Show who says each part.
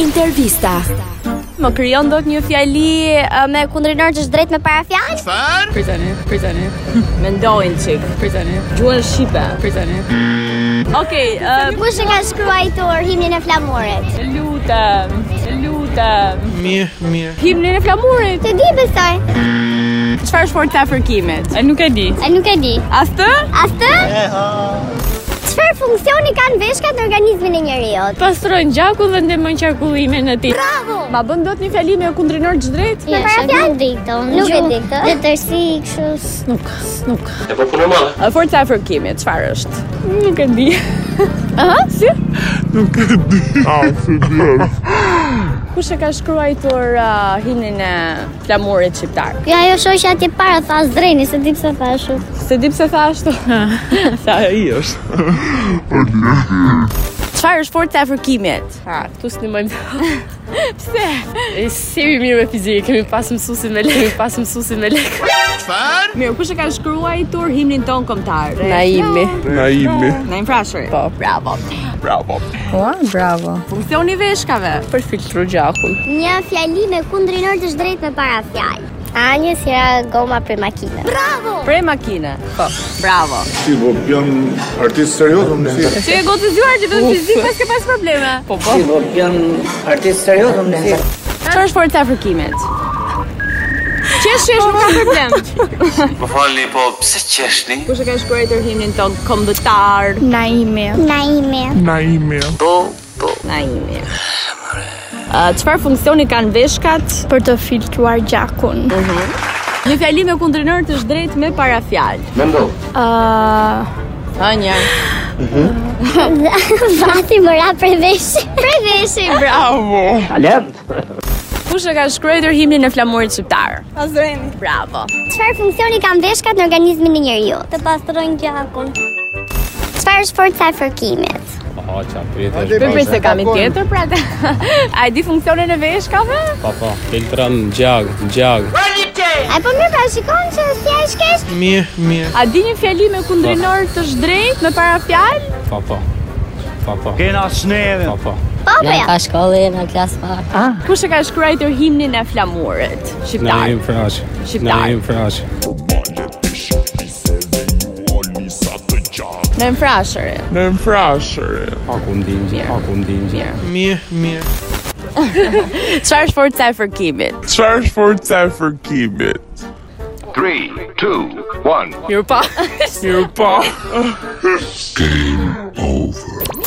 Speaker 1: Intervista.
Speaker 2: Më krijon dot një fjali eh, me kundrinor që është drejt me para fjalë?
Speaker 3: Çfarë?
Speaker 4: Pritani, pritani,
Speaker 5: Mendojnë qik,
Speaker 4: pritani,
Speaker 5: gjuhën Shqipe.
Speaker 4: pritani.
Speaker 5: Okej, okay,
Speaker 2: Kush e ka shkruar himnin e flamurit?
Speaker 5: lutem, lutem.
Speaker 3: Mirë, mirë.
Speaker 5: Himnin e flamurit.
Speaker 2: Të di besoj.
Speaker 5: Çfarë është forca e fërkimit? E nuk e di.
Speaker 2: E nuk e di.
Speaker 5: As të?
Speaker 2: As të? Çfarë funksioni kanë veshkat në organizmin e njeriut?
Speaker 4: Pastrojnë gjakun dhe ndemojnë qarkullimin e tij.
Speaker 2: Bravo!
Speaker 4: Ma bën dot një fjali me kundrinor të drejt?
Speaker 2: Me para fjalë di këto. Nuk e di këto. Letërsi kështu.
Speaker 4: Nuk, nuk.
Speaker 3: E po punë madhe.
Speaker 4: Forca e fërkimit, çfarë është? Nuk e di. Aha, si? Kush e ka shkruar uh, himnin e flamurit shqiptar?
Speaker 2: Ja ajo shoqja atje para tha zdreni se di pse tha ashtu.
Speaker 4: Se di pse tha ashtu. Sa i është. Çfarë është forca e fërkimit?
Speaker 6: Ha, tu s'nimojmë Pse? E, Se mi mirë me fizikë, kemi pas mësusin me lek, kemi pas mësusin me lek
Speaker 3: Çfarë?
Speaker 5: Mirë, kush e ka shkruar himnin ton kombëtar?
Speaker 4: Naimi.
Speaker 3: Naimi.
Speaker 5: Naim Frashëri.
Speaker 4: Po, bravo.
Speaker 3: Bravo.
Speaker 5: Funksioni i veshkave.
Speaker 6: Për filtru gjakun
Speaker 2: Një fjali me kundrinor të drejt me para fjalë. Anje si ra goma për makinë. Bravo!
Speaker 5: Pre makine. Po, bravo.
Speaker 7: Si, po jam artist serioz, unë si.
Speaker 5: Ti e gotëzuar ti vetëm fizik pas ke pas probleme. Po,
Speaker 4: Çfarë është forca e fërkimit?
Speaker 5: qesh qesh nuk ka problem.
Speaker 8: Më falni, po pse qeshni?
Speaker 5: Kush e ka shkruar himnin ton kombëtar?
Speaker 2: Naimi.
Speaker 8: Po, po.
Speaker 5: Naimi. Uh, çfarë funksioni kanë veshkat?
Speaker 9: për të filtruar gjakun.
Speaker 5: Një fjali me kundrinor të drejt me para fjalë.
Speaker 8: Mendo.
Speaker 9: Ah,
Speaker 5: Anja.
Speaker 2: Vati më ra prej veshi. Prej veshi.
Speaker 4: Kush e ka shkruar himnin e flamurit shqiptar? Azreni. Bravo.
Speaker 2: Çfarë funksioni kanë veshkat në organizmin e njeriu? Të pastrojnë gjakun. Çfarë është forca e fërkimit?
Speaker 5: Për se kam i tjetër pra. A e di funksionin e veshkave?
Speaker 2: Ai po mirë pra shikon që si ai shkesh.
Speaker 3: Mirë, mirë.
Speaker 5: A di një fjali me kundrinor të drejt me para fjalë?
Speaker 2: Po po ja.
Speaker 5: Kush e ka shkruar himnin e flamurit? Shqiptar. Naim Frash. Shqiptar. Naim Frash. Naim Frashëri.
Speaker 3: Në mfrashër. Mirë, mirë.
Speaker 5: Çfarë është forca e fërkimit?
Speaker 3: Çfarë është forca e fërkimit?
Speaker 8: 3, 2, 1
Speaker 5: Mirë pa.
Speaker 3: Mirë po.